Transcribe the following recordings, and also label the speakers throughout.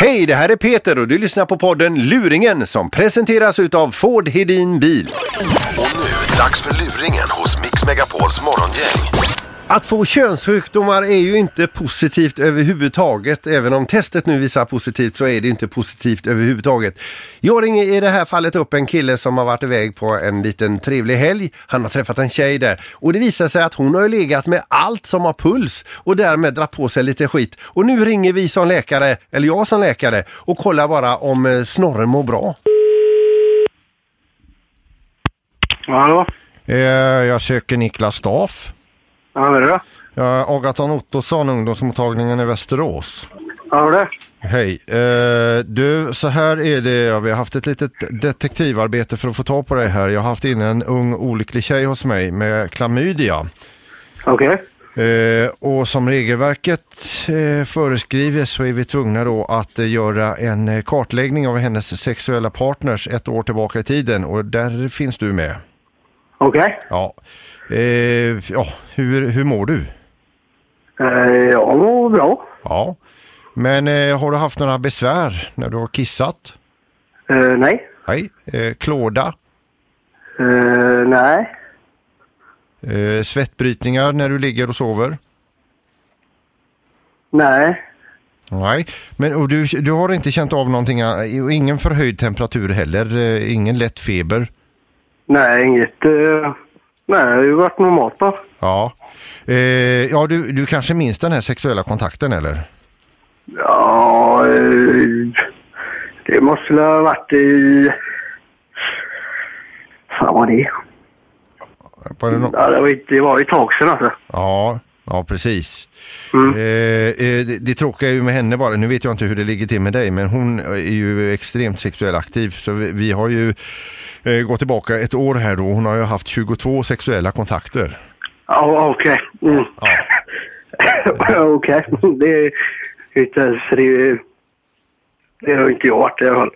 Speaker 1: Hej, det här är Peter och du lyssnar på podden Luringen som presenteras utav Ford Hedin Bil.
Speaker 2: Och nu, dags för luringen hos Mix Megapols morgongäng.
Speaker 1: Att få könssjukdomar är ju inte positivt överhuvudtaget. Även om testet nu visar positivt så är det inte positivt överhuvudtaget. Jag ringer i det här fallet upp en kille som har varit iväg på en liten trevlig helg. Han har träffat en tjej där och det visar sig att hon har ju legat med allt som har puls och därmed dragit på sig lite skit. Och nu ringer vi som läkare, eller jag som läkare, och kollar bara om eh, snorren mår bra.
Speaker 3: Hallå?
Speaker 1: Eh, Jag söker Niklas Staff.
Speaker 3: Ja, det är det.
Speaker 1: Agaton Ottosson, ungdomsmottagningen i Västerås.
Speaker 3: Ja, det är det.
Speaker 1: Hej. Eh, du, så här är det. Vi har haft ett litet detektivarbete för att få tag på dig här. Jag har haft in en ung olycklig tjej hos mig med klamydia.
Speaker 3: Okej.
Speaker 1: Eh, och som regelverket eh, föreskriver så är vi tvungna då att eh, göra en eh, kartläggning av hennes sexuella partners ett år tillbaka i tiden och där finns du med.
Speaker 3: Okej.
Speaker 1: Ja, eh, ja hur, hur mår du?
Speaker 3: Eh, Jag mår bra.
Speaker 1: Ja, men eh, har du haft några besvär när du har kissat?
Speaker 3: Eh, nej.
Speaker 1: Nej, eh, klåda?
Speaker 3: Eh, nej.
Speaker 1: Eh, svettbrytningar när du ligger och sover?
Speaker 3: Nej.
Speaker 1: Nej, men och du, du har inte känt av någonting, eh, och ingen förhöjd temperatur heller, eh, ingen lätt feber?
Speaker 3: Nej, inget. Eh, nej, det har ju varit normalt då.
Speaker 1: Ja, eh, ja du, du kanske minns den här sexuella kontakten eller?
Speaker 3: Ja, eh, det måste väl ha varit i... Fan vad det är.
Speaker 1: Var det nå-
Speaker 3: Ja, det, var, ju- det var ju ett tag sedan alltså.
Speaker 1: Ja, ja precis. Eh, eh, det, det tråkiga är ju med henne bara, nu vet jag inte hur det ligger till med dig, men hon är ju extremt sexuellt aktiv. Så vi, vi har ju eh, gått tillbaka ett år här då, hon har ju haft 22 sexuella kontakter.
Speaker 3: Ja, okej. Mm. okej. Det är inte ens... Det, det har ju inte jag varit i alla fall.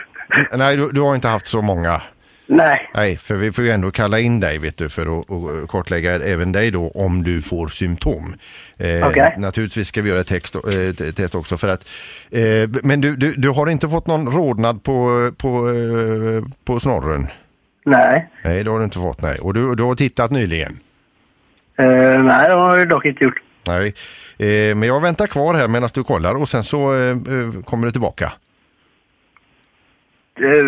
Speaker 1: Nej, du, du har inte haft så många.
Speaker 3: Nej.
Speaker 1: Nej, för vi får ju ändå kalla in dig vet du, för att och kartlägga även dig då om du får symptom. Eh,
Speaker 3: Okej.
Speaker 1: Naturligtvis ska vi göra ett text, eh, t- test också. För att, eh, men du, du, du har inte fått någon rodnad på, på, eh, på snorren?
Speaker 3: Nej.
Speaker 1: Nej, det har du inte fått. Nej. Och du, du har tittat nyligen?
Speaker 3: Eh, nej, det har jag dock inte gjort.
Speaker 1: Nej. Eh, men jag väntar kvar här medan du kollar och sen så eh, eh, kommer du tillbaka.
Speaker 3: Eh,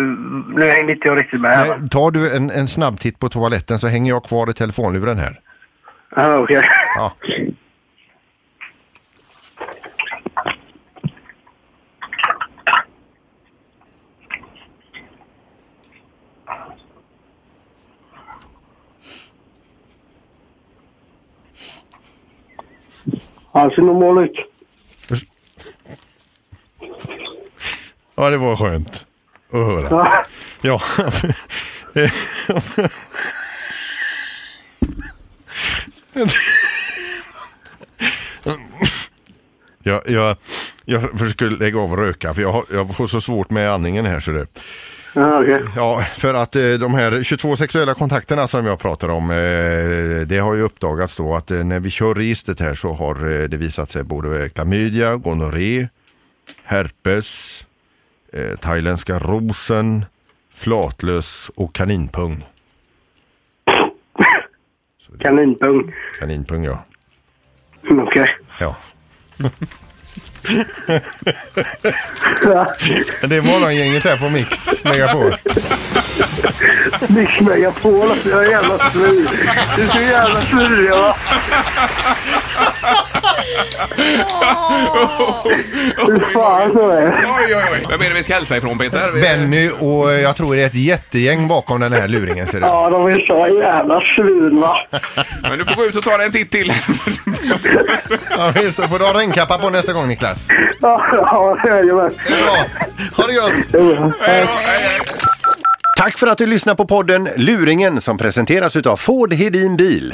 Speaker 3: nu hängde inte jag riktigt med. här, va?
Speaker 1: Nej, tar du en, en snabbtitt på toaletten så hänger jag kvar i telefonluren här.
Speaker 3: Ja, Ah, okej.
Speaker 1: Ja.
Speaker 3: Han ser normal ut.
Speaker 1: ja, det var skönt att höra.
Speaker 3: Ja.
Speaker 1: Ja. Eh, jag, jag, jag försöker lägga av och röka för jag, har, jag får så svårt med andningen här. Så det.
Speaker 3: Ja, ah, okej.
Speaker 1: Ja, för att eh, de här 22 sexuella kontakterna som jag pratar om, eh, det har ju uppdagats då att eh, när vi kör registret här så har eh, det visat sig både klamydia, gonorré, herpes, eh, thailändska rosen, flatlös och kaninpung.
Speaker 3: Kaninpung.
Speaker 1: Kaninpung ja.
Speaker 3: Mm, Okej.
Speaker 1: ja.
Speaker 3: Ja.
Speaker 1: Det är morgongänget här på Mix Megapol.
Speaker 3: Mix Megapol alltså. Jag är jävla svin. Du är så jävla surrig va. Fy fan så är det.
Speaker 4: Oj, oj, oj. Vem är det vi ska hälsa ifrån Peter? Vi-
Speaker 1: Benny och eh, jag tror det är ett jättegäng bakom den här luringen ser du.
Speaker 3: Ja, de är så jävla svin va.
Speaker 4: Men du får gå ut och ta dig en titt till.
Speaker 1: Ja, visst, då får du ha regnkappa på nästa gång Niklas.
Speaker 3: Ja, ja, jajamän.
Speaker 1: Bra, ha det gött!
Speaker 4: Hej då, hej, hej.
Speaker 1: Tack för att du lyssnar på podden Luringen som presenteras utav Ford Hedin Bil.